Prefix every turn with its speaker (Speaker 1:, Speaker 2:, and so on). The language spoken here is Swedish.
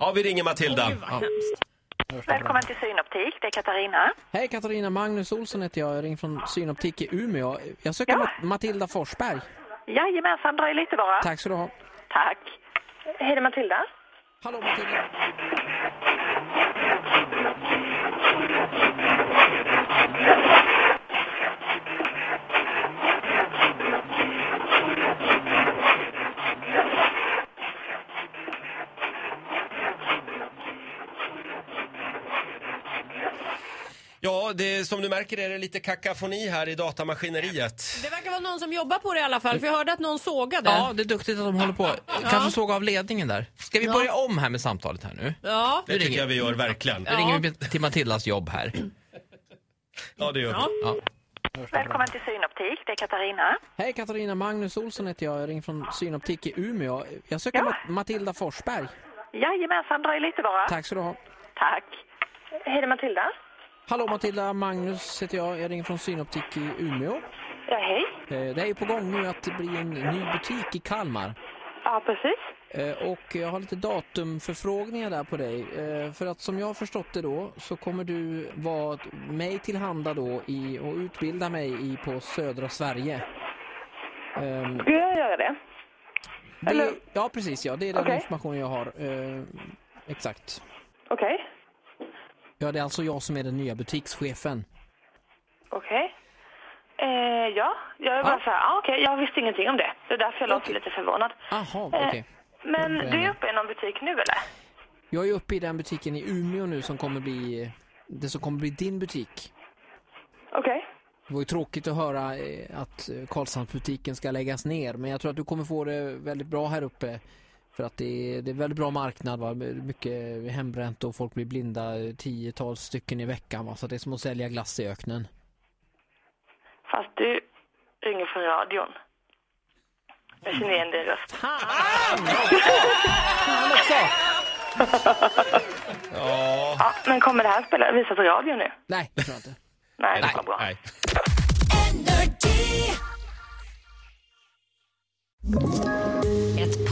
Speaker 1: Ja, vi ringer Matilda.
Speaker 2: Välkommen till Synoptik, det är Katarina.
Speaker 3: Hej Katarina, Magnus Olsson heter jag. Jag ringer från Synoptik i Umeå. Jag söker
Speaker 2: Ja.
Speaker 3: Mat- Matilda Forsberg.
Speaker 2: Jajamensan, dröj lite bara.
Speaker 3: Tack så du ha.
Speaker 2: Tack. Hej, det är Matilda.
Speaker 3: Hallå Matilda.
Speaker 1: Ja, det, som du märker är det lite kakafoni här i datamaskineriet.
Speaker 4: Det verkar vara någon som jobbar på det i alla fall, för jag hörde att någon sågade.
Speaker 5: Ja, det är duktigt att de håller på. Kanske såg av ledningen där. Ska vi
Speaker 4: Ja.
Speaker 5: börja om här med samtalet här nu?
Speaker 4: Ja.
Speaker 1: Det tycker
Speaker 5: ringer.
Speaker 1: jag vi gör verkligen.
Speaker 5: Nu ringer vi till Matildas jobb här.
Speaker 1: Ja, det gör vi.
Speaker 5: Ja.
Speaker 2: Välkommen till Synoptik, det är Katarina.
Speaker 3: Hej Katarina, Magnus Olsson heter jag. Jag ringer från Synoptik i Umeå. Jag söker
Speaker 2: Ja.
Speaker 3: Mat- Matilda Forsberg.
Speaker 2: Jajamensan, dröj lite bara.
Speaker 3: Tack så du ha.
Speaker 2: Tack. Hej, det är Matilda.
Speaker 3: Hallå Matilda, Magnus heter jag. Jag ringer från Synoptik i Umeå.
Speaker 2: Ja, hej.
Speaker 3: Eh, Det är ju på gång nu att det blir en ny butik i Kalmar.
Speaker 2: Ja, precis.
Speaker 3: Eh, Och jag har lite datumförfrågningar där på dig. Eh, För att som jag har förstått det då så kommer du vara mig tillhanda då i, och utbilda mig i på södra Sverige. Ehm,
Speaker 2: Ska jag göra det?
Speaker 3: det,
Speaker 2: Eller-
Speaker 3: ja precis ja, det är den
Speaker 2: Okej.
Speaker 3: information jag har. Eh, Exakt.
Speaker 2: Okej.
Speaker 3: Ja det är alltså jag som är den nya butikschefen.
Speaker 2: Okej. Eh, ja, jag är bara så här, ah, okej, jag visste ingenting om det. Det är därför jag låter lite förvånad.
Speaker 3: Aha,
Speaker 2: Eh,
Speaker 3: okej.
Speaker 2: Men
Speaker 3: Vad är
Speaker 2: du
Speaker 3: det?
Speaker 2: är uppe i någon butik nu eller?
Speaker 3: Jag är uppe i den butiken i Umeå nu som kommer bli, det som kommer bli din butik.
Speaker 2: Okej.
Speaker 3: Det var ju tråkigt att höra eh, att eh, Karlshamnsbutiken ska läggas ner men jag tror att du kommer få det väldigt bra här uppe. För att det är, det är väldigt bra marknad, va? mycket hembränt och folk blir blinda eh, tiotals stycken i veckan. Va? Så det är som att sälja glass i öknen.
Speaker 2: Fast du ringer från radion. Jag känner igen din röst.
Speaker 1: Ja.
Speaker 2: Ja, men kommer det här spela, visas på radio nu?
Speaker 3: Nej, det tror jag inte.
Speaker 2: Nej, det var bra.
Speaker 1: Nej.
Speaker 6: Ett